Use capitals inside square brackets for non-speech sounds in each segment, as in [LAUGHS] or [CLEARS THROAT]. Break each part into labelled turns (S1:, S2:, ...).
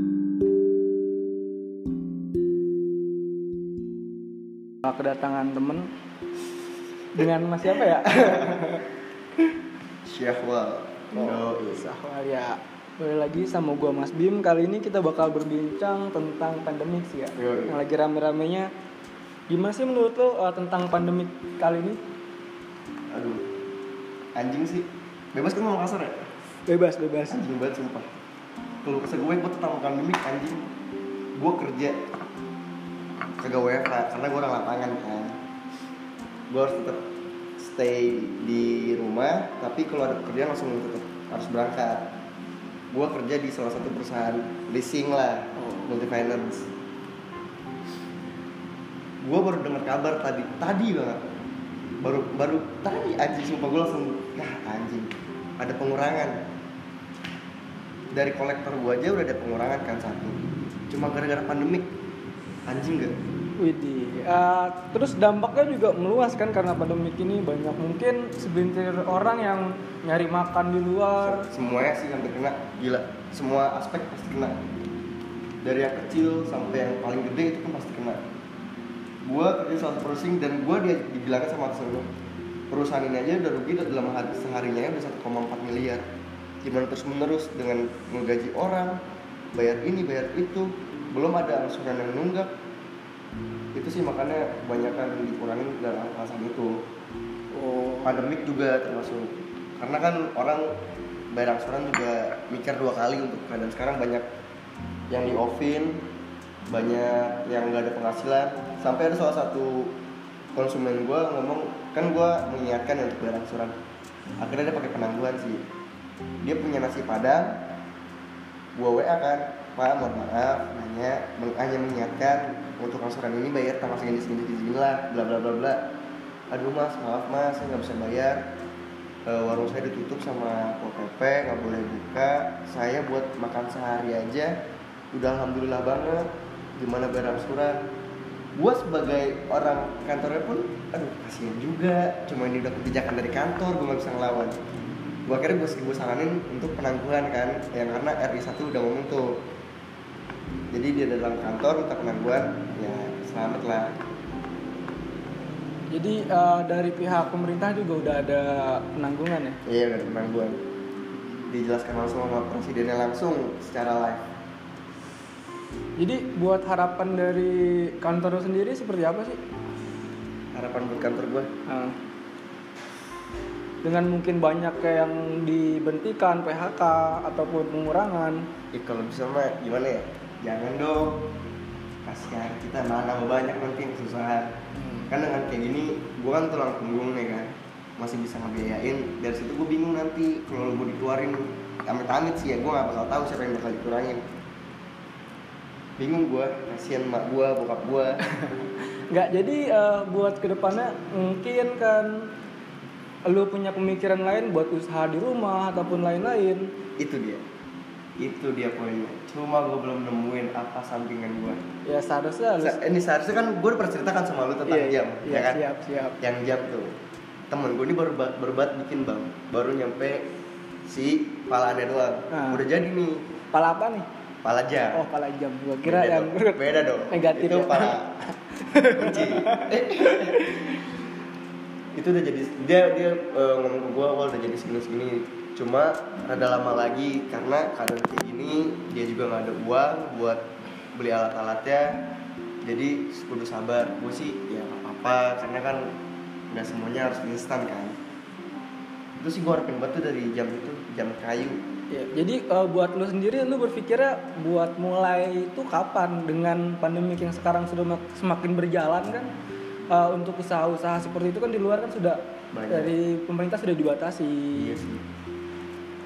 S1: suka Nah, kedatangan temen dengan mas siapa ya?
S2: Syahwal.
S1: Oh,
S2: Yoi.
S1: Sahwal ya. Kembali lagi sama gua Mas Bim. Kali ini kita bakal berbincang tentang pandemik sih ya.
S2: Yoi.
S1: Yang lagi rame-ramenya. Gimana sih menurut lo uh, tentang pandemik kali ini?
S2: Aduh. Anjing sih. Bebas kan ngomong kasar ya?
S1: Bebas, bebas.
S2: Anjing banget sumpah. Kalau kesel gue buat tentang pandemi anjing. Gue kerja kagak WFH karena gue orang lapangan kan. Gue harus tetap stay di rumah, tapi kalau ada kerjaan langsung tetap harus berangkat. Gue kerja di salah satu perusahaan leasing lah, multi finance. Gue baru dengar kabar tadi, tadi banget. Baru baru tadi anjing sumpah gue langsung Yah anjing. Ada pengurangan dari kolektor gua aja udah ada pengurangan kan satu cuma gara-gara pandemik anjing gak
S1: Widih. Uh, terus dampaknya juga meluas kan karena pandemik ini banyak mungkin sebentar orang yang nyari makan di luar.
S2: semuanya sih hampir kena gila semua aspek pasti kena dari yang kecil sampai yang paling gede itu kan pasti kena gua kerja salah satu perusahaan dan gua dia dibilangin sama atasan gua perusahaan ini aja udah rugi dalam hari- seharinya udah 1,4 miliar gimana terus menerus dengan menggaji orang bayar ini bayar itu belum ada angsuran yang nunggak itu sih makanya kebanyakan dikurangin dalam alasan itu
S1: Oh.
S2: pandemik juga termasuk karena kan orang bayar angsuran juga mikir dua kali untuk keadaan sekarang banyak yang di offin banyak yang nggak ada penghasilan sampai ada salah satu konsumen gue ngomong kan gue mengingatkan ya untuk bayar angsuran akhirnya dia pakai penangguhan sih dia punya nasi padang gue wa kan pak mohon maaf nanya meng- hanya mengingatkan untuk angsuran ini bayar tanggal segini segini segini lah bla bla bla bla aduh mas maaf mas saya nggak bisa bayar E, warung saya ditutup sama pol pp nggak boleh buka saya buat makan sehari aja udah alhamdulillah banget gimana bayar angsuran gue sebagai orang kantornya pun aduh kasihan juga cuma ini udah kebijakan dari kantor gue nggak bisa ngelawan gue akhirnya gue gue saranin untuk penangguhan kan yang karena RI 1 udah ngomong tuh jadi dia ada dalam kantor minta penangguhan ya selamat lah
S1: Jadi uh, dari pihak pemerintah juga udah ada penanggungan ya.
S2: iya udah ada penangguhan dijelaskan langsung sama presidennya langsung secara live
S1: Jadi buat harapan dari kantor lo sendiri seperti apa sih?
S2: harapan buat kantor gue
S1: Nah, dengan mungkin banyak kayak yang dibentikan PHK ataupun pengurangan.
S2: ya kalau bisa mah gimana ya jangan dong kasihan kita mana nambah banyak nanti yang kesusahan kan dengan kayak gini gue kan tulang punggung nih kan masih bisa ngebiayain dari situ gue bingung nanti kalau lu mau dikeluarin amit-amit sih ya gue gak bakal tahu siapa yang bakal dikurangin bingung gue kasihan mak gue bokap gue
S1: Nggak, jadi eh, buat kedepannya mungkin kan lu punya pemikiran lain buat usaha di rumah ataupun lain-lain.
S2: itu dia itu dia poinnya cuma gue belum nemuin apa sampingan gue
S1: Ya seharusnya harus.
S2: ini seharusnya kan gue udah pernah ceritakan sama lu tentang jam
S1: iya,
S2: ya kan
S1: siap, siap.
S2: yang jam tuh temen gue ini baru ba- baru banget bikin bang baru nyampe si pala ada doang
S1: Ah.
S2: udah jadi nih
S1: Pala apa nih?
S2: pala jam
S1: Oh, pala jam. Gua kira
S2: beda
S1: yang
S2: dong. beda dong
S1: negatif
S2: itu
S1: ya.
S2: pala kunci Eh. itu udah jadi dia dia eh, ngomong ke gue awal udah jadi segini segini cuma rada lama lagi karena keadaan kayak gini dia juga nggak ada uang buat beli alat-alatnya jadi kudu sabar gue sih ya nggak apa-apa karena kan nggak semuanya harus instan kan itu sih gue harapin banget tuh dari jam itu jam kayu
S1: Ya, jadi eh, buat lu sendiri lu berpikirnya buat mulai itu kapan dengan pandemi yang sekarang sudah mak- semakin berjalan kan eh, untuk usaha-usaha seperti itu kan di luar kan sudah
S2: Banyak.
S1: dari pemerintah sudah dibatasi.
S2: iya sih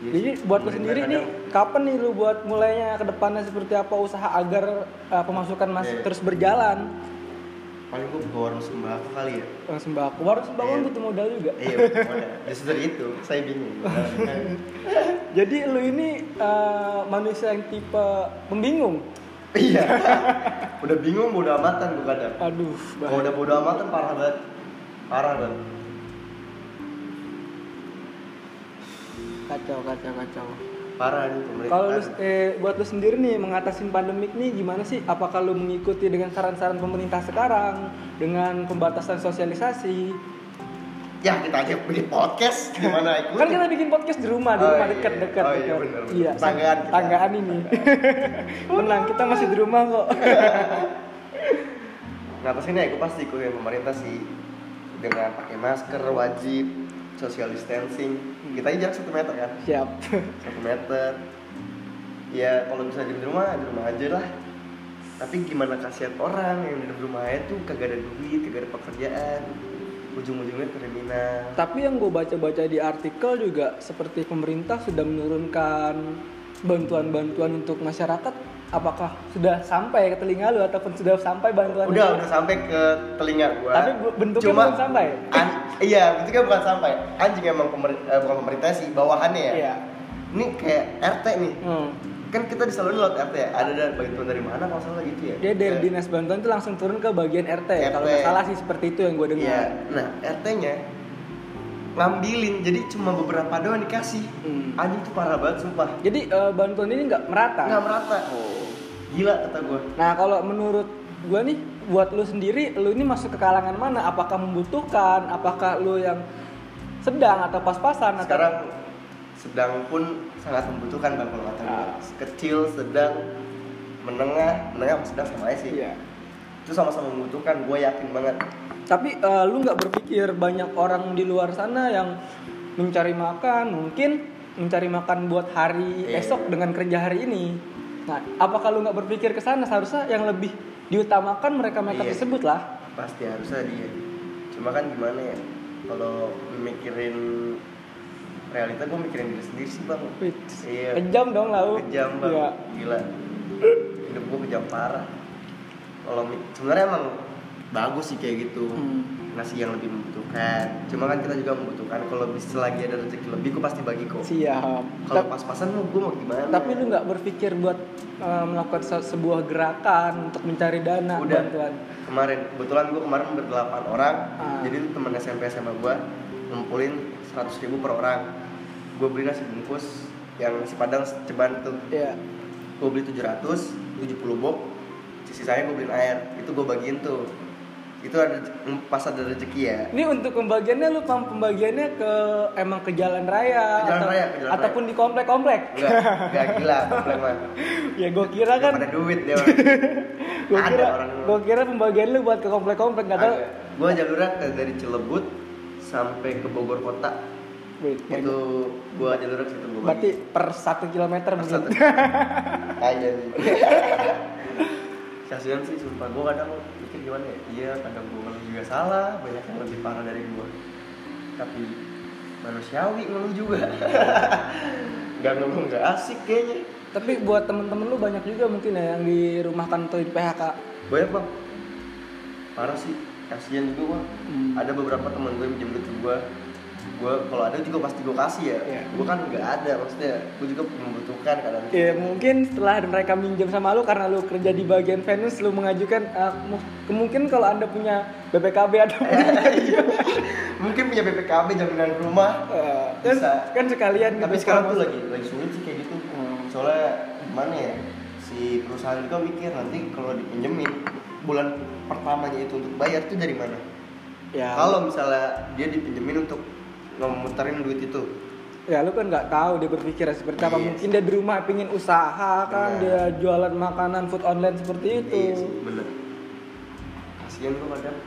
S2: Iya
S1: Jadi
S2: sih.
S1: buat lu
S2: Pemerintah
S1: sendiri nih
S2: kadang-
S1: kapan nih lu buat mulainya ke depannya seperti apa usaha agar eh, pemasukan masih
S2: Iya.
S1: terus berjalan.
S2: paling gue buka warung sembako kali ya
S1: Orang sembako, warung sembako kan
S2: Iya.
S1: butuh modal juga. [LAUGHS]
S2: iya modal justru dari itu saya bingung
S1: Jadi lu ini eh, manusia yang tipe pembingung.
S2: iya udah bingung bodo amatan gue kadang
S1: Aduh,
S2: kalau udah bodo amatan parah banget parah banget
S1: kacau kacau kacau
S2: parah nih pemerintah
S1: Kalau lu, eh, buat lu sendiri nih mengatasi pandemik nih gimana sih? Apakah lu mengikuti dengan saran-saran pemerintah sekarang dengan pembatasan sosialisasi?
S2: ya kita aja bikin podcast gimana ikut
S1: Kan kita bikin podcast di rumah, di
S2: Oh,
S1: rumah
S2: iya.
S1: dekat-dekat.
S2: Oh, iya,
S1: dekat.
S2: benar, benar.
S1: Iya,
S2: Tanggaan kita.
S1: tanggaan ini. [LAUGHS] Menang, kita masih di rumah kok. [LAUGHS]
S2: ngatasinnya aku pasti ikut yang pemerintah sih dengan pakai masker wajib social distancing kita aja jarak satu meter kan
S1: Siap.
S2: satu meter ya kalau bisa di rumah di rumah aja lah tapi gimana kasihan orang yang di rumah aja tuh kagak ada duit kagak ada pekerjaan ujung-ujungnya kriminal
S1: Tapi yang gue baca-baca di artikel juga seperti pemerintah sudah menurunkan bantuan-bantuan untuk masyarakat. Apakah sudah sampai ke telinga lu ataupun sudah sampai bantuan?
S2: udah
S1: ini?
S2: udah sampai ke telinga gua
S1: Tapi bu- bentuknya
S2: Cuma-
S1: belum sampai.
S2: An- iya bentuknya bukan sampai anjing emang pemer- eh, bukan pemerintah sih bawahannya ya
S1: Iya.
S2: ini kayak rt nih
S1: Hmm.
S2: kan kita disalurin lewat rt ya ada dari bantuan dari mana kalau salah gitu ya
S1: Dia dari
S2: Eh,
S1: dinas bantuan itu langsung turun ke bagian RT.
S2: RT.
S1: Kalau nggak salah sih seperti itu yang gue
S2: iya
S1: dengar.
S2: nah rt nya ngambilin jadi cuma beberapa doang dikasih
S1: Hmm.
S2: anjing tuh parah banget sumpah
S1: Jadi eh, bantuan ini nggak merata.
S2: nggak merata
S1: Oh.
S2: gila kata gua
S1: Nah kalau menurut gue nih, buat lu sendiri, lu ini masuk ke kalangan mana? Apakah membutuhkan? Apakah lu yang sedang atau pas-pasan? atau-
S2: sekarang sedang pun sangat membutuhkan bang kalau kata
S1: Ah.
S2: gua. kecil sedang menengah menengah sama sedang sama aja sih
S1: Iya.
S2: itu sama-sama membutuhkan gue yakin banget
S1: Tapi eh, lu nggak berpikir banyak orang di luar sana yang mencari makan, mungkin mencari makan buat hari
S2: Iya.
S1: esok dengan kerja hari ini. Nah, apakah lu nggak berpikir ke sana? Seharusnya yang lebih diutamakan mereka-mereka
S2: Iya.
S1: tersebut lah.
S2: pasti harusnya dia cuma kan gimana ya kalau mikirin realita gue mikirin diri sendiri sih bang
S1: Wih,
S2: Iya.
S1: Kejam dong lau.
S2: kejam bang
S1: Iya.
S2: gila hidup gue kejam parah kalau mi- sebenarnya emang bagus sih kayak gitu
S1: Hmm.
S2: nasi yang lebih membutuhkan cuma kan kita juga membutuhkan kalau bisa lagi ada rezeki lebih gue pasti bagi kok
S1: Siap.
S2: kalau
S1: Ta-
S2: pas-pasan lu gue mau gimana
S1: tapi lu nggak berpikir buat eh, melakukan se- sebuah gerakan untuk mencari dana
S2: Udah.
S1: bantuan.
S2: kemarin kebetulan gue kemarin berdelapan orang
S1: Ah.
S2: jadi itu temen SMP sama gue ngumpulin 100.000 ribu per orang gue beli nasi bungkus yang nasi padang ceban tuh
S1: Iya.
S2: gue beli 700 70 bob sisanya gue beliin air itu gue bagiin tuh itu ada pas ada rezeki ya
S1: Ini untuk pembagiannya lu pam- pembagiannya ke emang ke jalan raya,
S2: Ke jalan
S1: atau-
S2: raya, ke jalan raya.
S1: ataupun di
S2: [LAUGHS]
S1: komplek-komplek. [LAUGHS]
S2: enggak enggak gila komplek mah
S1: ya gue kira
S2: Nggak
S1: kan
S2: pada duit dia
S1: gue
S2: Ada
S1: kira
S2: orang.
S1: gue kira pembagian lu buat ke komplek-komplek [LAUGHS] nggak tahu.
S2: gue jalurnya ke- dari Cilebut sampai ke Bogor kota
S1: Wait, wait.
S2: itu gue jalurnya ke situ gue
S1: Berarti per satu kilometer
S2: Per
S1: begitu.
S2: aja nih kasian sih sumpah gue kadang mikir gimana ya iya kadang gue ngeluh juga salah banyak yang lebih parah dari gue tapi manusiawi ngeluh juga [LAUGHS] nggak ngeluh nggak asik kayaknya
S1: [LAUGHS] Tapi buat temen-temen lu banyak juga mungkin ya yang dirumahkan atau di PHK.
S2: banyak bang parah sih kasian juga gue
S1: Hmm.
S2: ada beberapa teman gue yang minjem duit gue gue kalau ada juga pasti gue kasih ya
S1: Iya.
S2: gue kan nggak ada maksudnya gue juga membutuhkan kadang
S1: Ya mungkin setelah mereka minjem sama lu karena lu kerja di bagian finance lu mengajukan eh, mu- kemungkinan kalau anda punya BPKB ada
S2: Eh,
S1: [LAUGHS]
S2: mungkin punya BPKB jaminan rumah
S1: kan,
S2: Bisa.
S1: kan sekalian
S2: tapi
S1: gitu
S2: sekarang tuh
S1: sama-
S2: lagi lagi sulit sih kayak gitu
S1: Hmm.
S2: soalnya gimana ya si perusahaan juga mikir nanti kalau dipinjemin bulan pertamanya itu untuk bayar tuh dari mana
S1: ya
S2: kalau misalnya dia dipinjemin untuk ngemuterin duit itu
S1: ya lu kan nggak tahu dia berpikir seperti apa
S2: Iya.
S1: mungkin dia di rumah pingin usaha kan
S2: Benar.
S1: dia jualan makanan food online seperti itu
S2: Iya sih, bener kasian tuh kadang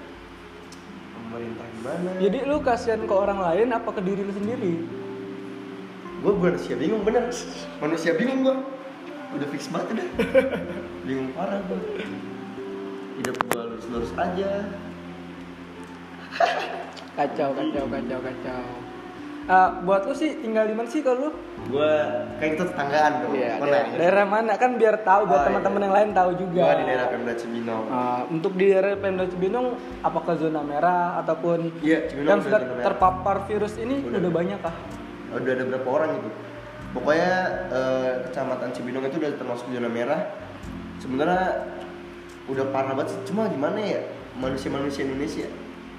S2: pemerintah gimana
S1: jadi lu kasihan ke orang lain apa ke diri lu sendiri
S2: gue manusia bingung bener manusia bingung gue udah fix banget
S1: [LAUGHS]
S2: udah bingung parah gue hidup gue lurus lurus aja
S1: kacau kacau kacau kacau Ah, buat lu sih tinggal di mana sih kalau lu
S2: gue kan itu tetanggaan dong
S1: daerah, daerah mana kan biar tahu buat
S2: Iya, Oh, iya.
S1: teman-teman yang lain tahu juga
S2: gue di daerah Pemda Cibinong
S1: Ah, untuk di daerah Pemda Cibinong apakah zona merah ataupun
S2: iya
S1: yang
S2: Cibinong
S1: kan sudah
S2: zona merah.
S1: terpapar virus ini
S2: Udah.
S1: udah, banyak kah?
S2: udah ada berapa orang gitu pokoknya eh, kecamatan Cibinong itu udah termasuk zona merah sebenarnya udah parah banget sih. cuma gimana ya manusia manusia Indonesia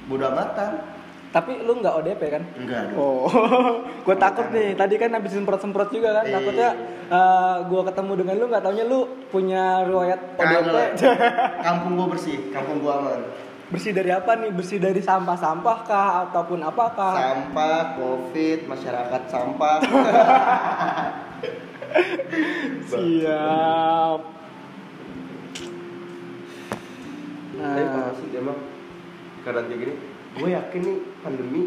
S2: bodoh amatan
S1: Tapi lu nggak ODP kan?
S2: Enggak dong.
S1: Oh, [LAUGHS] gue takut nih. Tadi kan habis semprot-semprot juga kan.
S2: Iya.
S1: Takutnya gue ketemu dengan lu nggak taunya lu punya
S2: Kan,
S1: riwayat ODP.
S2: Kagak. Kampung gua bersih, kampung gua aman.
S1: [LAUGHS] Bersih dari apa nih? Bersih dari sampah-sampah kah ataupun apakah?
S2: Sampah, covid, masyarakat sampah.
S1: Siap.
S2: Tapi
S1: Nah,
S2: kalau sih emang keadaan kayak gini, gue yakin nih pandemi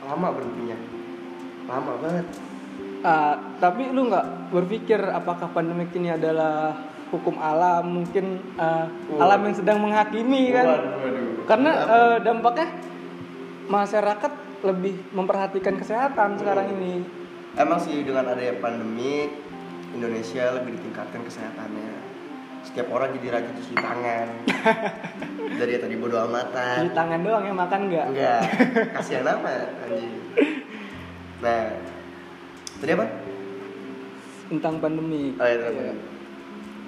S2: lama berhentinya. Lama banget.
S1: ah, tapi lu nggak berpikir apakah pandemik ini adalah hukum alam mungkin ah,
S2: Oh.
S1: alam yang sedang menghakimi kan?
S2: waduh.
S1: Karena eh, dampaknya masyarakat lebih memperhatikan kesehatan sekarang
S2: Hmm.
S1: ini.
S2: Emang sih dengan adanya pandemi Indonesia lebih ditingkatkan kesehatannya. Setiap orang jadi rajin cuci
S1: [LAUGHS]
S2: tangan. Dari yang tadi bodo
S1: Cuci
S2: amatan.
S1: tangan doang ya makan nggak?
S2: Enggak, kasihan amat anjing. Nah, tadi apa?
S1: Tentang pandemi.
S2: Oh, iya,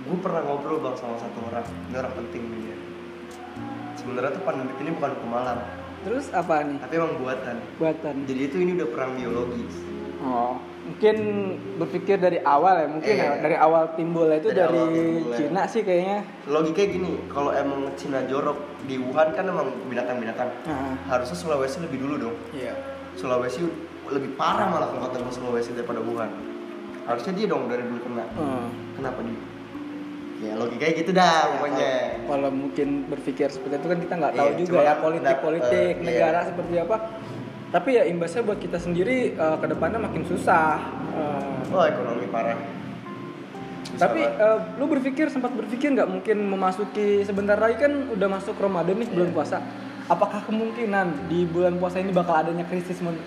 S2: Gue pernah ngobrol bang sama satu orang. Ini orang penting nih dia. Sebenarnya tuh pandemi ini bukan hukum alam,
S1: Terus apa nih?
S2: tapi emang buatan.
S1: Buatan.
S2: Jadi itu ini udah perang biologis.
S1: Oh, mungkin berpikir dari awal ya, mungkin
S2: Iya.
S1: ya, dari awal timbulnya itu
S2: Dari
S1: dari,
S2: awal timbulnya.
S1: Cina sih kayaknya.
S2: Logiknya gini, kalau emang Cina jorok di Wuhan kan emang binatang-binatang.
S1: Nah,
S2: Harusnya Sulawesi lebih dulu dong.
S1: iya.
S2: Sulawesi lebih parah malah kalau kata Sulawesi daripada Wuhan. Harusnya dia dong dari dulu kena.
S1: Hmm.
S2: Kenapa dia? Ya logikanya gitu dah pokoknya.
S1: Kalau mungkin berpikir seperti itu kan kita nggak
S2: Iya,
S1: tahu juga
S2: cuma
S1: ya
S2: kan
S1: politik-politik
S2: dapet,
S1: negara
S2: iya.
S1: seperti apa. Tapi ya imbasnya buat kita sendiri eh, ke depannya makin susah. Eh,
S2: Oh ekonomi parah. Bisa
S1: Tapi
S2: banget.
S1: eh, lu berpikir sempat berpikir nggak mungkin memasuki sebentar lagi kan udah masuk Ramadan nih bulan
S2: Iya.
S1: puasa. Apakah kemungkinan di bulan puasa ini bakal adanya krisis mon-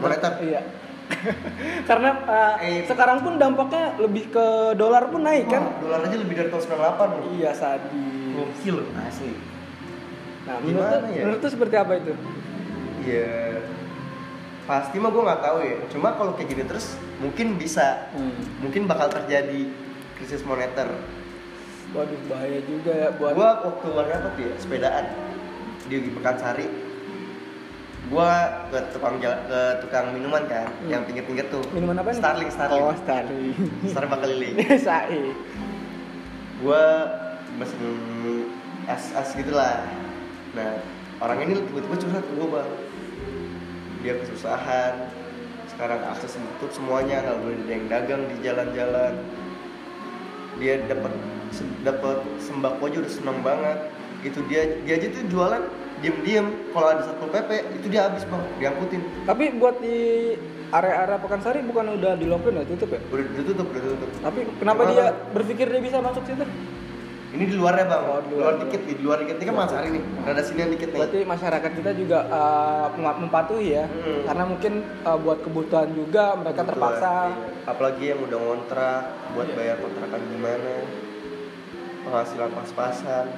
S2: Moneter.
S1: Iya. [LAUGHS] Karena eh,
S2: Eh.
S1: sekarang pun dampaknya lebih ke dolar pun naik kan?
S2: Wah, dolar aja Oh, lebih dari tahun 98 loh.
S1: Iya sadis.
S2: Gokil asli.
S1: Nah,
S2: Gimana
S1: menurut, lu-
S2: ya?
S1: menurut lu seperti apa itu?
S2: Iya. Pasti mah gue nggak tahu ya. Cuma kalau kayak gini terus mungkin bisa,
S1: Hmm,
S2: mungkin bakal terjadi krisis moneter.
S1: Waduh bahaya juga ya buat
S2: Gue waktu warna apa tuh ya? Sepedaan di Pekansari. Gue ke tukang jala- ke tukang minuman kan,
S1: Hmm.
S2: yang pinggir-pinggir tuh.
S1: minuman apa nih?
S2: Starling, Starling.
S1: Oh, Starling. [LAUGHS]
S2: Starbucks keliling.
S1: Sae.
S2: gue mesen es es gitulah nah orang ini tiba-tiba curhat ke gue bang dia kesusahan sekarang akses ditutup semuanya nggak boleh ada yang dagang di jalan-jalan dia dapat dapat sembako aja udah seneng banget itu dia dia aja tuh jualan diem-diem kalau ada satu pp itu dia habis bang diangkutin
S1: Tapi buat di area-area Pekansari bukan udah di lockdown ya tutup ya?
S2: udah ditutup udah ditutup
S1: Tapi kenapa
S2: Gimana?
S1: dia berpikir dia bisa masuk situ?
S2: ini di luarnya bang
S1: Oh, di
S2: di
S1: luar.
S2: luar dikit di luar dikit ini kan mas hari nih ada sinian dikit nih
S1: Berarti masyarakat kita juga eh, mem- mempatuhi ya,
S2: Hmm.
S1: karena mungkin eh, buat kebutuhan juga mereka Kan
S2: Betul,
S1: terpaksa.
S2: iya. apalagi yang udah ngontrak buat
S1: Iya.
S2: bayar kontrakan gimana penghasilan pas-pasan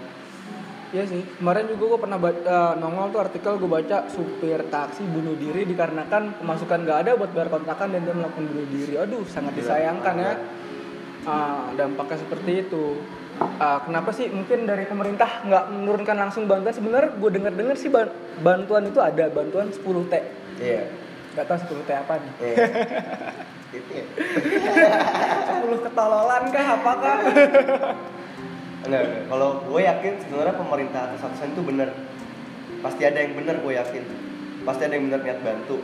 S1: Iya sih. Kemarin juga gue pernah ba- eh, nongol tuh artikel gue baca supir taksi bunuh diri dikarenakan pemasukan gak ada buat bayar kontrakan dan dia melakukan bunuh diri. Aduh, sangat
S2: Gila, Iya.
S1: disayangkan ya.
S2: banget.
S1: Ah, dampaknya seperti itu. Ah, kenapa sih mungkin dari pemerintah nggak menurunkan langsung bantuan? Sebenarnya gue dengar-dengar sih ban- bantuan itu ada bantuan 10 t.
S2: iya
S1: Gak tau 10 t apa nih. [LAUGHS]
S2: iya. Gitu ya.
S1: 10 ketololan kah apakah?
S2: Enggak, enggak. kalau gue yakin sebenarnya pemerintah atas satusan itu bener pasti ada yang bener gue yakin pasti ada yang bener niat bantu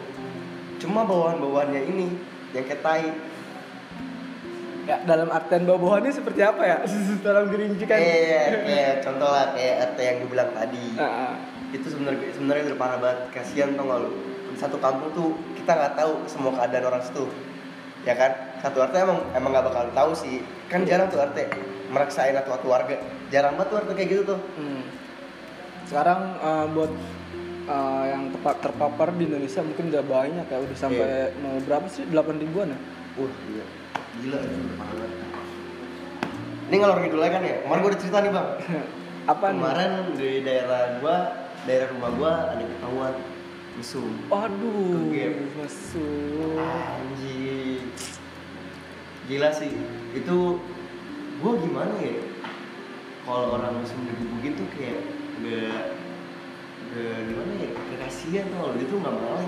S2: cuma bawahan-bawahannya ini yang kayak tai
S1: ya, dalam artian bobohannya seperti apa ya? [LAUGHS] Tolong dirincikan.
S2: kayak kayak contoh lah Iya, kayak RT yang dibilang tadi
S1: Ah, ah.
S2: itu sebenarnya sebenarnya udah parah banget kasihan tau gak lu satu kampung tuh kita nggak tahu semua keadaan orang situ ya kan satu RT emang emang nggak bakal tahu sih kan jarang tuh RT meraksain atau satu warga jarang banget tuh RT kayak gitu tuh
S1: Hmm. Sekarang eh, buat eh, yang tepat terpapar di Indonesia mungkin udah banyak ya, udah sampai
S2: Eh.
S1: mau berapa sih? 8 ribuan ya? [LAUGHS]
S2: wah gila gila itu udah parah banget ini ngalor ngidul aja kan ya kemarin gua udah cerita nih bang
S1: apa nih?
S2: kemarin di daerah gua daerah rumah gua ada ketahuan mesum
S1: Waduh,
S2: Kegep.
S1: masuk.
S2: Anjing. Gila sih. Itu gua gimana ya? Kalau orang musim digebukin tuh kayak gitu nggak eh, gimana ya kekasihan kalau dia tuh nggak mau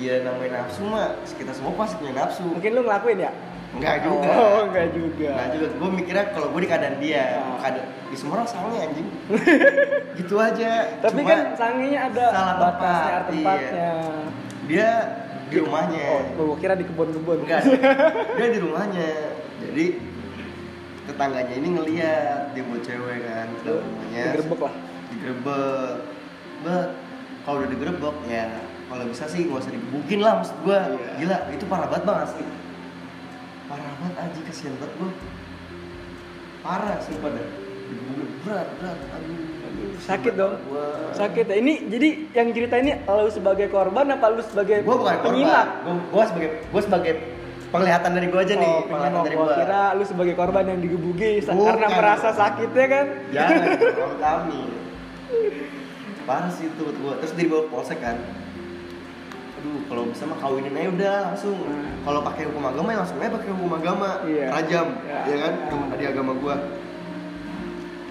S2: ya namanya nafsu mah kita semua pasti punya nafsu
S1: Mungkin lu ngelakuin ya?
S2: enggak juga
S1: Oh, enggak juga.
S2: Nah juga gue mikirnya kalau gue di keadaan dia,
S1: Ah.
S2: keadaan di semua orang sama ya,
S1: [LAUGHS]
S2: anjing. gitu aja.
S1: Tapi
S2: Cuma
S1: kan sanginya ada
S2: salah
S1: batasnya,
S2: tempat,
S1: ada tempatnya.
S2: dia di rumahnya.
S1: Oh, gua kira di kebun-kebun. [LAUGHS]
S2: Enggak. dia di rumahnya. Jadi tetangganya ini ngeliat dia mau cewek kan ke
S1: Lu
S2: rumahnya.
S1: digerebek lah.
S2: Digerebek. Mbak, kalau udah digerebek ya kalau bisa sih nggak usah digebukin lah maksud gue.
S1: Iya.
S2: Gila, itu parah banget bang asli. Parah banget aja kasihan banget gue. Parah sih pada. Digebukin berat berat. Aduh. aduh.
S1: Sakit dong.
S2: Gua-
S1: Sakit ya. Ini jadi yang cerita ini lu sebagai korban apa lu sebagai
S2: gue bukan korban
S1: penyimak?
S2: gue sebagai gue sebagai penglihatan dari gue aja nih
S1: Oh,
S2: penglihatan
S1: penyimak.
S2: dari
S1: Gua
S2: gue
S1: kira lu sebagai korban yang digebuki sa-
S2: Bukan. Ya.
S1: karena merasa sakitnya kan.
S2: jangan orang kami parah sih itu gue terus dia dibawa ke polsek kan aduh kalau bisa mah kawinin aja udah langsung
S1: Hmm.
S2: kalau pakai hukum agama ya langsung aja pakai hukum agama
S1: Iya.
S2: rajam
S1: Iya.
S2: ya kan yang di agama gue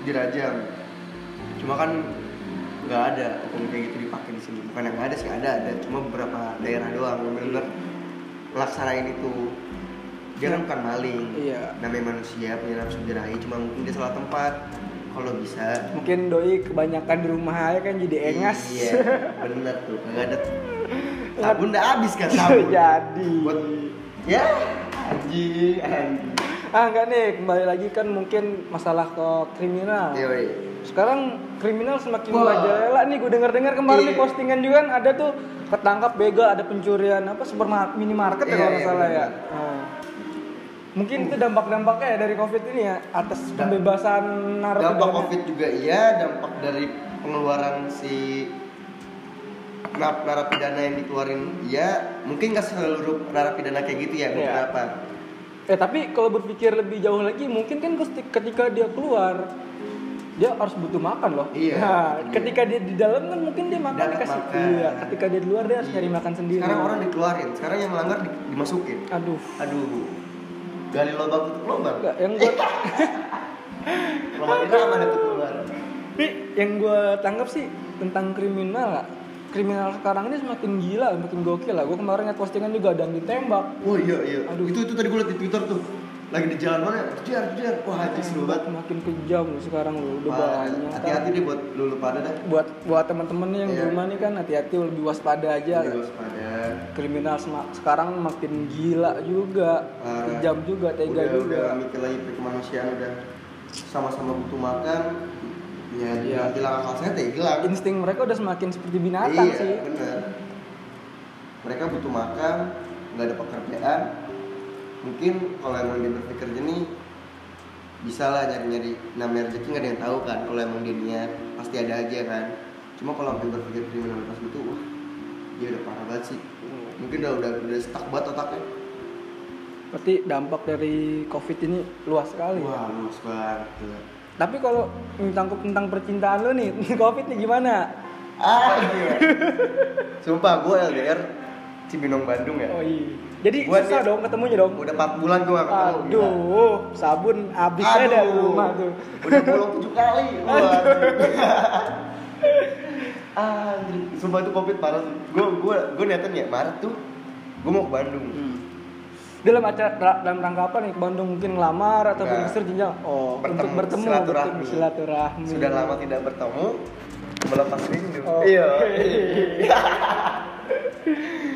S2: dirajam cuma kan nggak ada hukum kayak gitu dipakai di sini bukan yang nggak ada sih ada ada cuma beberapa daerah doang yang bener laksanain itu dia kan bukan maling
S1: Iya.
S2: namanya manusia punya nafsu birahi cuma mungkin dia salah tempat kalau bisa
S1: Mungkin doi kebanyakan di rumah aja kan jadi engas. [LAUGHS]
S2: iya bener tuh nggak ada sabun udah habis kan sabun
S1: Iya, jadi.
S2: buat ya anjing anjing
S1: Ah enggak nih, kembali lagi kan mungkin masalah ke kriminal.
S2: Yoi.
S1: Sekarang kriminal semakin
S2: Wah.
S1: merajalela nih, gue denger-dengar kemarin
S2: Iya.
S1: di postingan juga kan ada tuh ketangkap begal, ada pencurian apa supermarket minimarket ya
S2: Iya,
S1: kalau nggak
S2: iya,
S1: salah ya.
S2: benar-benar.
S1: Nah. Mungkin itu dampak-dampaknya ya dari covid ini ya atas
S2: Dampak-
S1: pembebasan narkoba. kan ya.
S2: dampak covid juga iya dampak dari pengeluaran si nar- narapidana yang dikeluarin iya mungkin nggak seluruh narapidana kayak gitu ya
S1: Iya.
S2: beberapa
S1: Eh tapi kalau berpikir lebih jauh lagi, mungkin kan kesti- ketika dia keluar dia harus butuh makan loh.
S2: Iya,
S1: Nah,
S2: iya.
S1: ketika dia di dalam kan mungkin dia makan
S2: Dapat
S1: dikasih.
S2: makan.
S1: Iya, ketika dia di luar dia harus nyari makan sendiri.
S2: sekarang orang dikeluarin sekarang yang melanggar di- dimasukin
S1: Aduh.
S2: aduh gali lubang tutup lubang
S1: Enggak, yang gue
S2: lubang itu mana tutup lubang
S1: yang gue tanggap sih tentang kriminal lah. Kriminal sekarang ini semakin gila, semakin gokil lah. Gue kemarin liat postingan juga ada yang ditembak.
S2: oh iya iya
S1: Aduh.
S2: itu itu tadi gue liat di twitter tuh lagi di jalan mana kejar kejar wah anjing seru banget
S1: Makin kejam loh sekarang loh, udah
S2: Wah,
S1: banyak. kan.
S2: hati-hati deh buat lu lupa ada dah
S1: Buat buat teman-teman yang di
S2: Iya.
S1: rumah nih kan hati-hati lebih waspada aja.
S2: Jadi waspada
S1: kriminal sema- sekarang makin gila juga,
S2: Parah.
S1: kejam juga, tega
S2: udah
S1: juga.
S2: udah mikir lagi ke kemanusiaan udah sama-sama butuh makan
S1: Iya.
S2: ya hilang hilang akal sehat ya hilang
S1: Insting mereka udah semakin seperti binatang
S2: iya,
S1: sih.
S2: bener. Mereka butuh makan, nggak ada pekerjaan. Mungkin kalau emang dia berpikir jernih, bisa lah nyari-nyari namanya rezeki nggak ada yang tahu kan. Kalau emang dia niat, pasti ada aja kan. Cuma kalau sampai berpikir kriminalitas itu, gitu, wah, dia udah parah banget sih. Mungkin udah udah udah stuck banget otaknya.
S1: Berarti dampak dari covid ini luas sekali.
S2: Wah, luas banget. gila.
S1: Tapi kalau tangkup tentang percintaan lo nih, [LAUGHS] covid nih gimana?
S2: Ah, [LAUGHS] iya. Sumpah, gue LDR Cibinong Bandung ya.
S1: Oh iya. Jadi
S2: Buat
S1: susah
S2: dia-
S1: dong ketemunya dong.
S2: Udah 4 bulan gue gak ketemu. gila.
S1: Aduh, sabun habis aja
S2: Aduh,
S1: dari rumah tuh.
S2: Udah bolong tujuh kali. Waduh. Anjir, sumpah itu covid parah sih. Gue gue gue niatan ya Maret tuh gue mau ke Bandung.
S1: Dalam acara dal- dalam rangka apa nih ke Bandung mungkin ngelamar atau
S2: Enggak.
S1: berkisar jenjang? Oh, untuk
S2: Bertemu,
S1: bertemu
S2: silaturahmi.
S1: bertemu, silaturahmi.
S2: Sudah lama tidak bertemu, melepas rindu. Iya.
S1: Oh. [LAUGHS]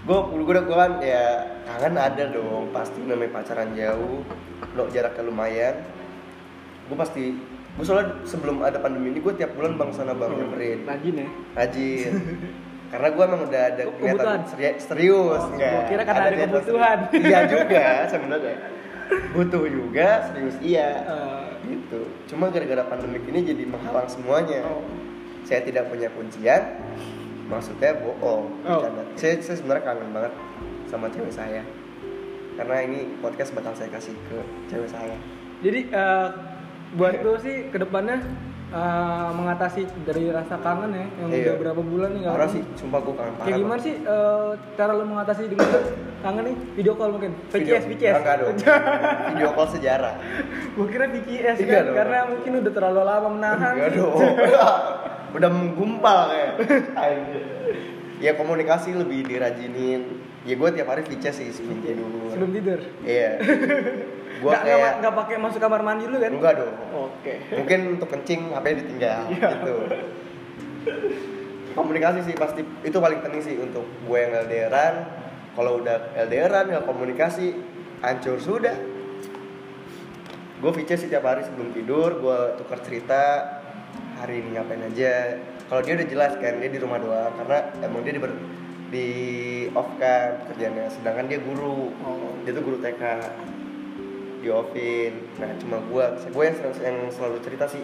S2: gue gue udah gue kan ya kangen ada dong pasti namanya pacaran jauh lo jaraknya lumayan gue pasti gue soalnya sebelum ada pandemi ini gue tiap bulan bang sana bang nyamperin
S1: Rajin ya.
S2: rajin karena gue emang udah ada
S1: Ke- Oh, kebutuhan?
S2: kelihatan seri- serius iya.
S1: Oh,
S2: enggak.
S1: gua kira karena ada
S2: di atas-
S1: kebutuhan.
S2: iya juga sebenarnya butuh juga serius iya
S1: Eh,
S2: gitu cuma gara-gara pandemik ini jadi menghalang semuanya
S1: Oh.
S2: saya tidak punya kuncian maksudnya bohong
S1: Oh.
S2: Bercanda. saya, saya sebenarnya kangen banget sama cewek saya karena ini podcast bakal saya kasih ke cewek saya
S1: Jadi eh, buat
S2: Iya.
S1: lo sih kedepannya eh, mengatasi dari rasa kangen ya yang
S2: Iya.
S1: udah berapa bulan nih nggak
S2: parah
S1: ketemu.
S2: sih sumpah gue kangen parah
S1: Kayak gimana sih eh, cara lo mengatasi dengan kangen nih? Video call mungkin?
S2: Video-
S1: VCS, VCS.
S2: Enggak
S1: [LAUGHS]
S2: dong. video call sejarah
S1: Gue kira VCS
S2: Iya
S1: kan,
S2: dong.
S1: karena mungkin udah terlalu lama menahan.
S2: Enggak
S1: sih.
S2: dong [LAUGHS] udah menggumpal kayak Anjir. ya komunikasi lebih dirajinin ya gue tiap hari VC sih sebelum tidur
S1: sebelum tidur
S2: iya gue
S1: nggak nggak-
S2: kayak
S1: nggak pakai masuk kamar mandi dulu kan
S2: enggak dong
S1: oke Iya.
S2: mungkin untuk kencing HP ditinggal gitu komunikasi sih pasti itu paling penting sih untuk gue yang LDRan kalau udah LDRan nggak ya komunikasi hancur sudah gue VC sih tiap hari sebelum tidur gue tukar cerita hari ini ngapain aja kalau dia udah jelas kan dia di rumah doang karena emang dia di, ber- di off kan kerjanya sedangkan dia guru
S1: Oh.
S2: dia tuh guru TK di offin nah cuma gue gue yang, sering- yang selalu cerita sih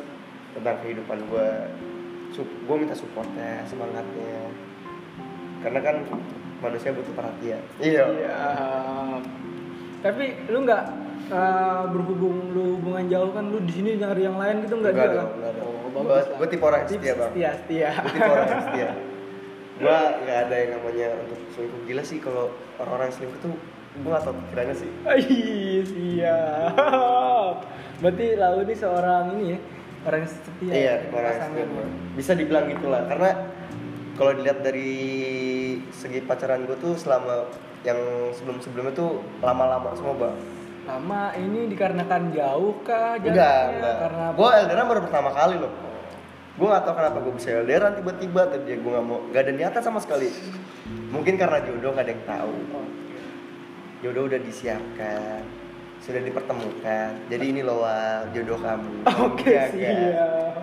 S2: tentang kehidupan gue gue minta supportnya semangatnya karena kan manusia butuh perhatian iya
S1: Iya. Tapi lu nggak eh, berhubung lu hubungan jauh kan lu di sini nyari yang lain gitu nggak
S2: Nggak
S1: juga
S2: dong,
S1: kan?
S2: nggak dong.
S1: Oh,
S2: Gua-
S1: bagus. lah.
S2: gua tipe orang yang
S1: Tips
S2: setia, Bang.
S1: Setia, setia. [LAUGHS]
S2: Gua tipe orang yang setia gue nggak ada yang namanya untuk selingkuh gila sih kalau orang-orang yang selingkuh tuh gue gak tau pikirannya sih
S1: Ih, siap. [LAUGHS] Berarti lau ini seorang ini ya, orang yang setia.
S2: iya
S1: dengan
S2: orang yang
S1: pasangan. ya?
S2: selingkuh bisa dibilang gitulah karena kalau dilihat dari segi pacaran gue tuh selama yang sebelum-sebelumnya tuh lama-lama semua bang
S1: Lama ini dikarenakan jauh kah
S2: enggak
S1: jaraknya?
S2: enggak
S1: Karena
S2: gue LDRan baru pertama kali loh gue gak tau kenapa gue bisa LDRan tiba-tiba tadi gue gak mau gak ada niatan sama sekali mungkin karena jodoh gak ada yang tahu jodoh udah disiapkan sudah dipertemukan jadi ini loh Wal, jodoh kamu
S1: Oke,
S2: Iya, kan?
S1: siap.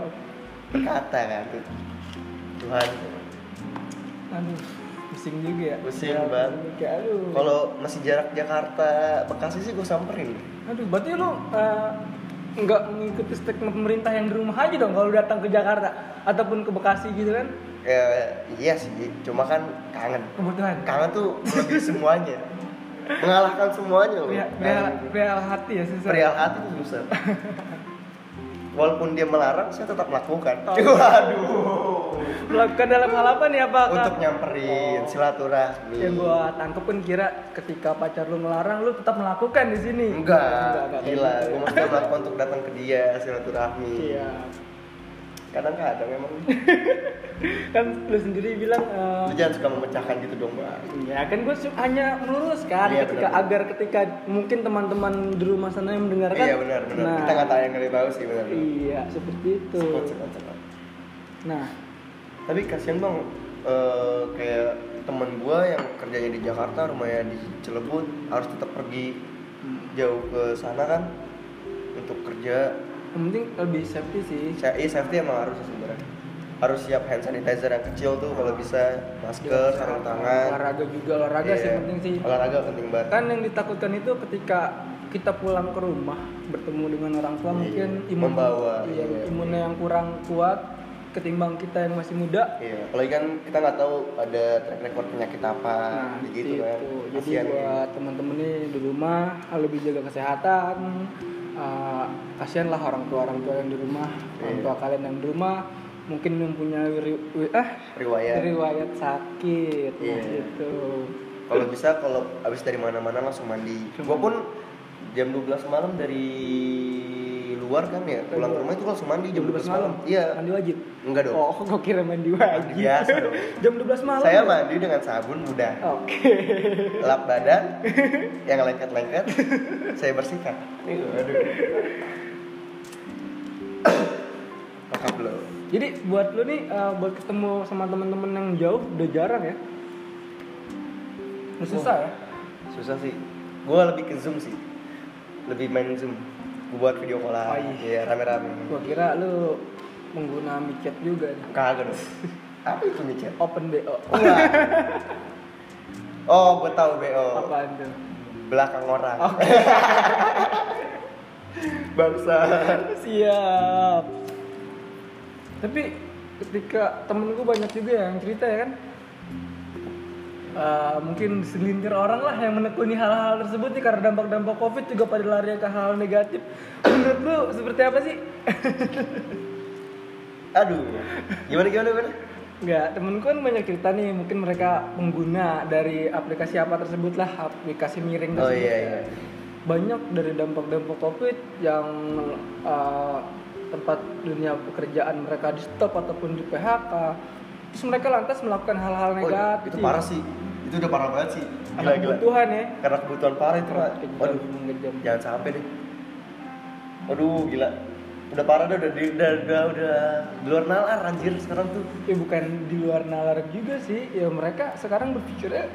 S2: berkata kan tuh Tuhan
S1: Aduh, pusing juga ya.
S2: Pusing,
S1: Ya,
S2: Bang.
S1: Kayak aduh.
S2: kalau masih jarak Jakarta Bekasi sih gue samperin
S1: Aduh, berarti lu eh, nggak mengikuti stigma pemerintah yang di rumah aja dong kalau datang ke Jakarta ataupun ke Bekasi gitu kan?
S2: Eh, iya sih cuma kan kangen
S1: Kebutuhan.
S2: kangen tuh lebih semuanya mengalahkan semuanya loh
S1: Pria, pria,
S2: Kangen.
S1: pria hati ya susah.
S2: perihal hati itu susah
S1: [LAUGHS]
S2: walaupun dia melarang saya tetap melakukan
S1: Oh.
S2: waduh
S1: Melakukan dalam hal apa nih apa? Kak?
S2: untuk nyamperin silaturahmi
S1: Oh. yang gua tangkep pun kira ketika pacar lu ngelarang lu tetap melakukan di sini.
S2: enggak
S1: kayak
S2: gila gue
S1: gitu.
S2: masih melakukan untuk datang ke dia silaturahmi
S1: Iya.
S2: kadang kadang memang
S1: Kan lu sendiri bilang eh,
S2: lu jangan suka memecahkan gitu dong mbak
S1: Ya kan gue hanya meluruskan
S2: Iya,
S1: ketika
S2: benar-benar.
S1: agar ketika mungkin teman-teman di rumah sana yang mendengarkan.
S2: iya benar benar
S1: Nah,
S2: kita nggak tahu yang dari bau sih benar benar.
S1: Iya seperti itu.
S2: Cepat, cepat, cepat.
S1: Nah
S2: tapi kasihan bang eh, kayak temen gue yang kerjanya di Jakarta rumahnya di Cilegon harus tetap pergi
S1: Hmm.
S2: jauh ke sana kan untuk kerja
S1: yang penting lebih safety sih.
S2: Sa- iya, safety emang harus sih sebenarnya harus siap hand sanitizer yang kecil tuh kalau bisa masker sarung tangan
S1: Olahraga juga Iya, olahraga sih
S2: Iya.
S1: penting sih.
S2: olahraga penting banget
S1: Kan yang ditakutkan itu ketika kita pulang ke rumah bertemu dengan orang tua
S2: Iya.
S1: mungkin
S2: Membawa,
S1: iya,
S2: iya.
S1: imunnya yang kurang kuat ketimbang kita yang masih muda
S2: Iya, apalagi kan kita nggak tahu ada track record penyakit apa gitu kan.
S1: itu. Nah, Jadi
S2: Kasihan
S1: buat teman-teman nih di rumah ah, lebih jaga kesehatan. Eh, kasihanlah orang tua orang tua yang di rumah, orang
S2: Iya.
S1: tua kalian yang di rumah mungkin mempunyai ri- wi- eh,
S2: riwayat.
S1: riwayat sakit
S2: Iya.
S1: gitu.
S2: Kalau bisa kalau habis dari mana-mana langsung mandi.
S1: Langsung
S2: Gua pun jam 12 malam dari luar kan ya, pulang ke rumah itu langsung mandi jam 12 malam. Iya.
S1: Mandi wajib.
S2: Enggak dong.
S1: Oh, [LAUGHS] kok kira mandi wajib.
S2: Biasa dong.
S1: Jam 12 malam.
S2: Saya
S1: ya?
S2: mandi dengan sabun mudah.
S1: Oke.
S2: Lap badan yang lengket-lengket saya bersihkan. Nih, aduh. Lengkap loh.
S1: Jadi buat lu nih eh, buat ketemu sama teman-teman yang jauh udah jarang ya. Udah susah ya.
S2: susah sih gue lebih ke zoom sih lebih main zoom gue buat video call
S1: Oh, iya.
S2: ya rame-rame
S1: Gua kira lu pengguna micet juga nih.
S2: kagak dong apa itu micet
S1: Open BO.
S2: oh gue tahu bo
S1: Apaan tuh?
S2: belakang orang
S1: Oke.
S2: [LAUGHS] bangsa
S1: Siap. Tapi ketika temen gue banyak juga yang cerita ya kan. Eh, mungkin segelintir orang lah yang menekuni hal-hal tersebut nih karena dampak-dampak covid juga pada lari ke hal negatif menurut lu seperti apa sih?
S2: aduh gimana gimana gimana
S1: Enggak, temenku kan banyak cerita nih, mungkin mereka pengguna dari aplikasi apa tersebut lah, aplikasi miring
S2: Oh,
S1: tersebut.
S2: iya,
S1: ya.
S2: iya.
S1: Banyak dari dampak-dampak COVID yang eh, tempat dunia pekerjaan mereka di stop ataupun di PHK terus mereka lantas melakukan hal-hal
S2: Oh,
S1: negatif
S2: itu parah sih. Itu udah parah banget sih.
S1: Ada kebutuhan ya gitu,
S2: Karena kebutuhan parah itu. Pak. Waduh, Ya.
S1: Mengejam.
S2: jangan sampai deh. Waduh, gila. Udah parah dah, udah di- udah udah, udah di luar nalar anjir sekarang tuh.
S1: ya bukan di luar nalar juga sih ya mereka sekarang berpikirnya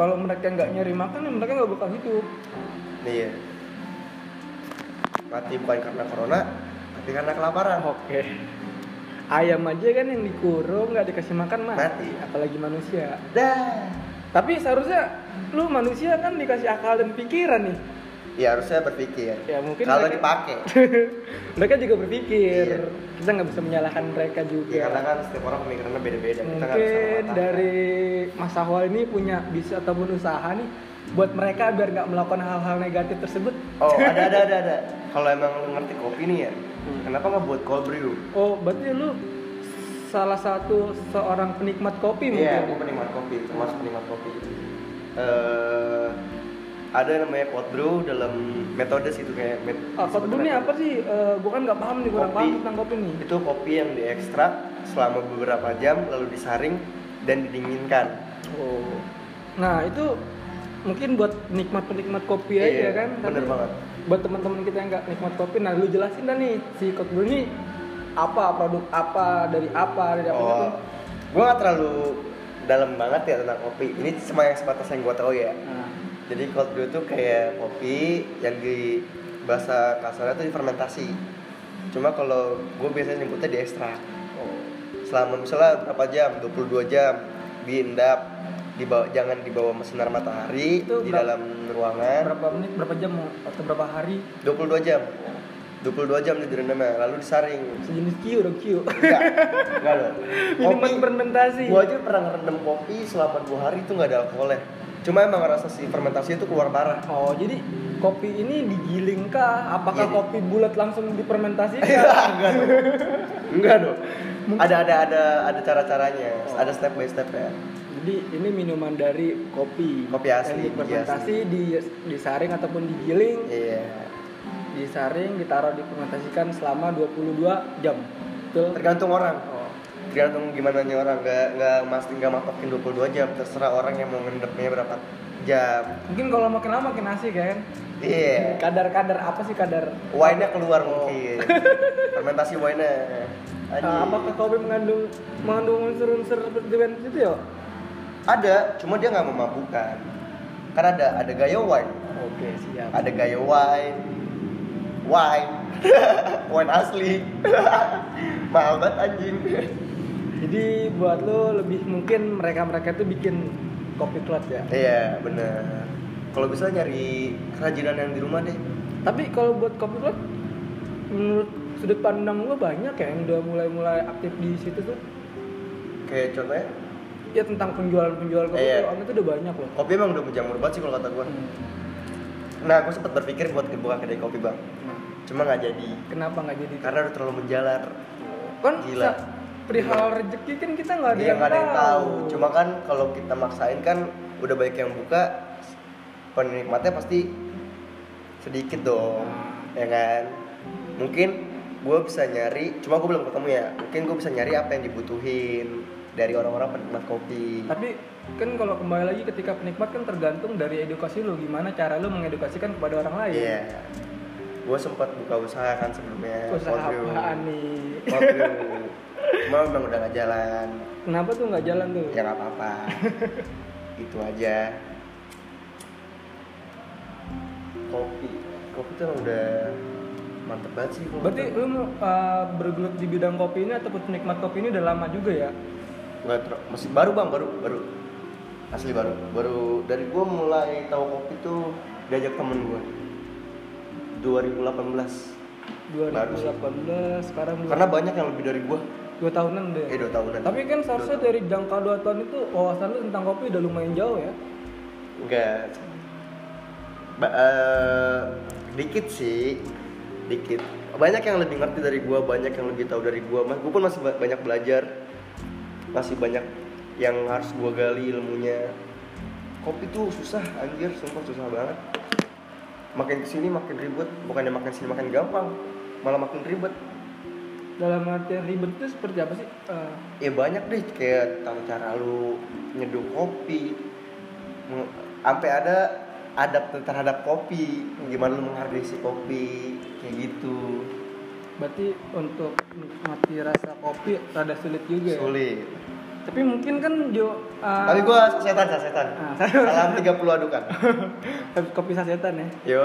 S1: kalau mereka nggak nyari makan ya mereka nggak bakal hidup
S2: Nih ya. Mati bukan karena corona, tapi karena kelaparan.
S1: oke ayam aja kan yang dikurung nggak dikasih makan mah
S2: Mati.
S1: apalagi manusia
S2: Dah.
S1: tapi seharusnya lu manusia kan dikasih akal dan pikiran nih [LAUGHS]
S2: Ya harusnya berpikir.
S1: Ya, mungkin
S2: kalau
S1: mereka-
S2: dipakai.
S1: [LAUGHS] mereka juga berpikir
S2: Iya.
S1: kita nggak bisa menyalahkan mereka juga
S2: Ya, karena kan setiap orang pemikirannya beda-beda. Kita nggak bisa
S1: Iya. mungkin
S2: mematahkan.
S1: dari Mas Sahwal ini punya bisnis ataupun usaha nih buat mereka biar nggak melakukan hal-hal negatif tersebut [LAUGHS]
S2: Oh, ada ada ada ada. Kalau emang lu ngerti kopi nih ya,
S1: Hmm.
S2: kenapa nggak buat cold brew?
S1: Oh, berarti lu salah satu seorang penikmat kopi mungkin.
S2: Iya, aku penikmat kopi,
S1: Hmm.
S2: termasuk penikmat kopi. Eh ada namanya cold brew dalam metode sih itu kayak met,
S1: Ah, cold brew ini
S2: sebetulnya
S1: apa sih? Eh, gua kan nggak paham nih, kurang
S2: Kopi.
S1: paham tentang kopi nih.
S2: Itu kopi yang diekstrak selama beberapa jam lalu disaring dan didinginkan.
S1: Oh. Nah, itu mungkin buat nikmat-penikmat kopi
S2: Iya,
S1: aja kan.
S2: bener
S1: Tapi
S2: banget.
S1: Buat teman-teman kita yang nggak nikmat kopi, nah lu jelasin dah nih si cold brew ini apa produk apa dari apa dari apa
S2: oh,
S1: gitu.
S2: gue nggak terlalu dalam banget ya tentang kopi. Ini cuma yang sebatas yang gue tahu ya.
S1: Nah,
S2: Jadi cold brew tuh kayak kopi yang di bahasa kasarnya tuh difermentasi. Cuma kalau gue biasanya nyebutnya di ekstrak. Selama misalnya berapa jam? 22 jam diendap di bawah, jangan di bawah sinar matahari
S1: Itu
S2: di
S1: berapa-
S2: dalam ruangan
S1: berapa menit, berapa jam atau berapa hari
S2: 22 jam. 22 jam di direndamnya lalu disaring.
S1: [LAUGHS] sejenis Q dong Q. [LAUGHS]
S2: Enggak. Enggak dong.
S1: Minuman
S2: Kopi-
S1: fermentasi.
S2: Gua aja pernah ngerendam kopi selama dua hari itu nggak ada alkoholnya. Cuma emang rasa si fermentasi itu keluar parah. [LAUGHS]
S1: Oh, jadi kopi ini digiling kah? Apakah
S2: Iya, di-
S1: kopi bulat langsung dipermentasi?
S2: enggak dong enggak dong ada ada ada ada cara caranya ada step by step ya
S1: [LAUGHS] jadi ini minuman dari kopi.
S2: Kopi
S1: Yang
S2: asli,
S1: dipermentasi, di, disaring ataupun digiling,
S2: iya
S1: disaring, ditaruh dipermentasikan selama 22 jam. Betul.
S2: tergantung orang
S1: Oh.
S2: tergantung gimana nya orang nggak nggak mas nggak matokin 22 jam terserah orang yang mau ngendepnya berapa jam
S1: Mungkin kalau makin lama makin asik kan.
S2: iya
S1: Kadar-kadar apa sih kadar?
S2: wine-nya keluar mungkin fermentasi wine-nya
S1: Eh, apakah kopi mengandung mengandung unsur-unsur seperti itu ya?
S2: ada cuma dia nggak memabukkan karena ada ada gaya wine
S1: Oke, siap.
S2: ada gaya wine wine [LAUGHS] wine asli [LAUGHS] mahal banget anjing
S1: Jadi buat lo lebih mungkin mereka-mereka tuh bikin kopi club ya.
S2: iya bener kalau bisa nyari kerajinan yang di rumah deh
S1: Tapi kalau buat kopi club menurut sudut pandang gue banyak ya yang udah mulai-mulai aktif di situ tuh.
S2: kayak contohnya
S1: Ya tentang penjualan-penjualan kopi
S2: Iya.
S1: club online tuh udah banyak loh. Hmm.
S2: kopi emang udah menjamur banget sih kalau kata gua nah gue sempat berpikir buat buka kedai kopi bang
S1: Nah,
S2: cuma nggak jadi
S1: kenapa nggak jadi?
S2: karena udah terlalu menjalar
S1: kan
S2: gila.
S1: sa- perihal rezeki kan kita nggak ada,
S2: dia
S1: yang
S2: Iya, nggak ada yang tahu
S1: Cuma
S2: cuma kan kalau kita maksain kan udah banyak yang buka penikmatnya pasti sedikit dong ya kan mungkin gue bisa nyari cuma gue belum ketemu ya mungkin gue bisa nyari apa yang dibutuhin dari orang-orang penikmat kopi
S1: tapi kan kalau kembali lagi ketika penikmat kan tergantung dari edukasi lo gimana cara lo mengedukasikan kepada orang lain.
S2: iya gue sempat buka usaha kan sebelumnya
S1: Usaha
S2: Kodrio.
S1: apaan nih?
S2: Kodrio. cuma memang udah gak jalan
S1: Kenapa tuh nggak jalan tuh?
S2: ya nggak apa-apa [LAUGHS] itu aja kopi kopi tuh emang udah mantep banget sih kalau
S1: Berarti
S2: kata-
S1: lu uh, bergelut di bidang kopi ini ataupun penikmat kopi ini udah lama juga ya?
S2: nggak ter- masih baru bang baru baru asli baru baru dari gua mulai tahu kopi tuh diajak temen gua 2018 Baru sih.
S1: 2018 sekarang dua-
S2: karena banyak yang lebih dari gua
S1: dua tahunan deh.
S2: eh dua tahunan
S1: Tapi kan seharusnya dari jangka dua tahun itu wawasan lu tentang kopi udah lumayan jauh ya.
S2: Enggak. Ba- eh, dikit sih, dikit. Banyak yang lebih ngerti dari gua, banyak yang lebih tahu dari gua. Mas, gua pun masih ba- banyak belajar. Masih banyak yang harus gua gali ilmunya. Kopi tuh susah, anjir, sumpah susah banget. Makin kesini makin ribet, bukannya makin sini makin gampang, malah makin ribet.
S1: dalam artian ribet itu seperti apa sih Eh,
S2: ya banyak deh kayak tentang cara lu nyeduh kopi Meng- sampai ada adab terhadap kopi gimana lu menghargai si kopi kayak gitu
S1: berarti untuk menikmati rasa kopi rada sulit juga ya?
S2: sulit
S1: tapi mungkin kan jo eh,
S2: tapi gua setan setan
S1: Ah.
S2: salam 30 adukan
S1: habis kopi sasetan ya
S2: yo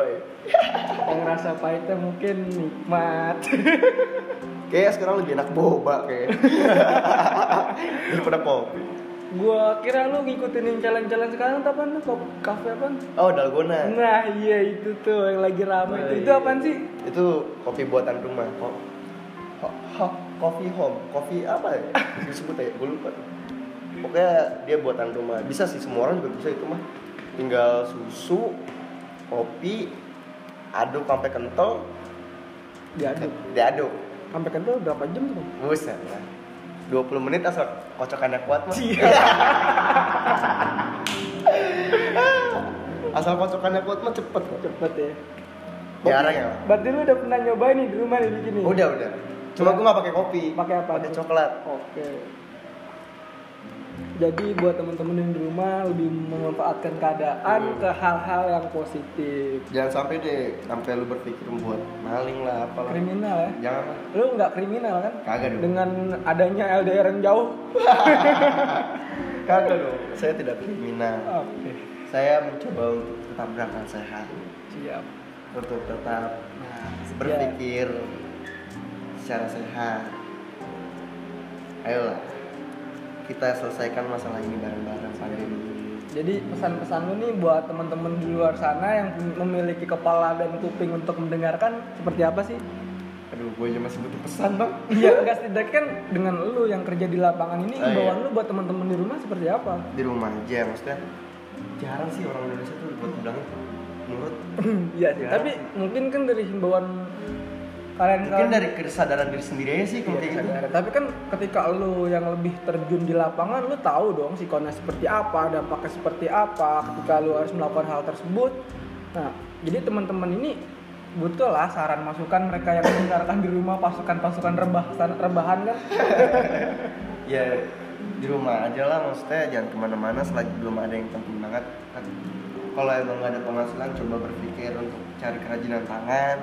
S1: yang rasa pahitnya mungkin nikmat [LAUGHS]
S2: kayak sekarang lebih enak boba kayak daripada kopi
S1: gua kira lu ngikutin challenge-challenge sekarang tuh apaan lu Ko- kafe apaan
S2: oh dalgona
S1: nah iya itu tuh yang lagi
S2: Oh,
S1: rame itu
S2: iya,
S1: itu apaan sih
S2: itu kopi buatan rumah kok coffee home kopi apa
S1: [LAUGHS]
S2: ya disebut ya gue lupa pokoknya dia buatan rumah bisa sih semua orang juga bisa itu mah tinggal susu kopi aduk sampai kental
S1: diaduk
S2: diaduk
S1: sampai kental berapa jam
S2: [LAUGHS]
S1: tuh
S2: buset lah 20 menit asal kocokannya kuat mah asal kocokannya kuat mah cepet kok
S1: cepet ya
S2: jarang ya
S1: berarti lu udah pernah nyobain nih di rumah nih bikin nih
S2: udah udah cuma gue nggak pakai kopi
S1: pakai apa
S2: pakai coklat
S1: oke jadi buat temen-temen yang di rumah lebih memanfaatkan keadaan
S2: Hmm.
S1: ke hal-hal yang positif
S2: jangan sampai deh sampai lu berpikir buat maling lah apalah
S1: kriminal ya
S2: jangan lah.
S1: lu nggak kriminal kan
S2: kagak dong
S1: dengan adanya LDR yang jauh
S2: kagak dong saya tidak kriminal
S1: oke
S2: saya mencoba untuk tetap berakal sehat
S1: siap
S2: untuk tetap ya,
S1: nah
S2: berpikir secara sehat ayolah kita selesaikan masalah ini bareng-bareng pandemi
S1: Jadi pesan-pesan lu nih buat teman-teman di luar sana yang memiliki kepala dan kuping untuk mendengarkan seperti apa sih?
S2: aduh gue aja masih butuh pesan bang
S1: Iya, enggak setidaknya kan dengan lu yang kerja di lapangan ini
S2: Oh, iya.
S1: imbauan lu buat teman-teman di rumah seperti apa?
S2: di rumah aja maksudnya jarang sih orang Indonesia tuh buat bilang nurut
S1: [CLEARS THROAT] Iya sih.
S2: Ya.
S1: Tapi mungkin kan dari himbauan kalian
S2: mungkin dari kesadaran diri sendiri aja sih
S1: Iya,
S2: kalau kayak gitu
S1: sadar. Tapi kan ketika lu yang lebih terjun di lapangan, lu tahu dong sikonnya seperti apa, dampaknya seperti apa ketika lu harus melakukan hal tersebut. Nah, jadi teman-teman ini butuh lah saran masukan mereka yang mendengarkan di rumah pasukan-pasukan rebah rebahan kan.
S2: ya di rumah aja lah maksudnya jangan kemana-mana selagi belum ada yang penting banget Kan, kalau emang nggak ada penghasilan coba berpikir untuk cari kerajinan tangan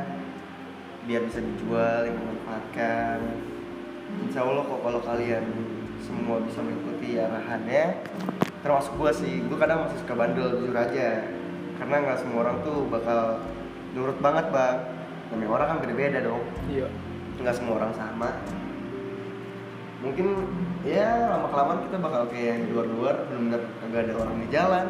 S2: biar bisa dijual yang memanfaatkan insya Allah kok kalau kalian semua bisa mengikuti arahannya termasuk gue sih gue kadang masih suka bandel jujur aja karena nggak semua orang tuh bakal nurut banget bang namanya orang kan beda-beda dong
S1: Iya.
S2: nggak semua orang sama mungkin ya lama kelamaan kita bakal kayak yang di luar-luar benar-benar nggak ada orang di jalan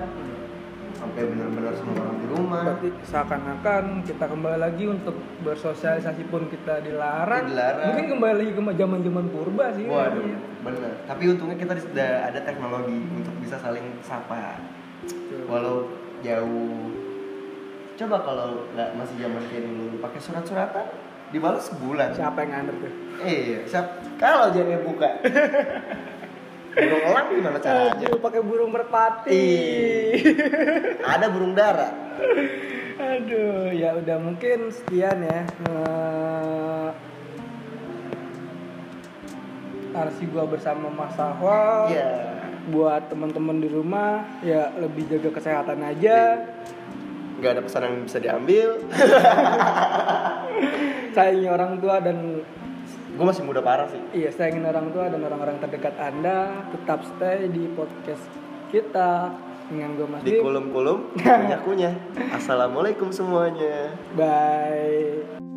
S2: sampai benar-benar semua orang di rumah
S1: Berarti seakan-akan kita kembali lagi untuk bersosialisasi pun kita dilarang.
S2: Dilarang.
S1: Mungkin kembali lagi ke zaman-zaman purba sih.
S2: waduh
S1: kayaknya.
S2: bener tapi untungnya kita sudah ada teknologi untuk bisa saling sapa
S1: Gitu.
S2: walau jauh coba kalau nggak masih zaman kayak dulu pakai surat-suratan dibalas sebulan
S1: Siapa yang ngandep tuh?
S2: eh siap kalau jangan buka [LAUGHS] burung elang gimana caranya
S1: Aduh, pakai burung merpati.
S2: Ih. ada burung dara
S1: [LAUGHS] Aduh, ya udah mungkin sekian ya. Eh, Arsi gua bersama Mas Sahwa.
S2: Iya.
S1: Buat teman-teman di rumah ya lebih jaga kesehatan aja.
S2: Nggak ada pesan yang bisa diambil. Iya.
S1: Sayangi orang tua dan
S2: Gue masih muda parah sih.
S1: iya sayangin orang tua dan orang-orang terdekat Anda. Tetap stay di podcast kita dengan gua Mas
S2: Di
S1: Dim.
S2: kolom-kolom punya-punya. Assalamualaikum semuanya.
S1: Bye.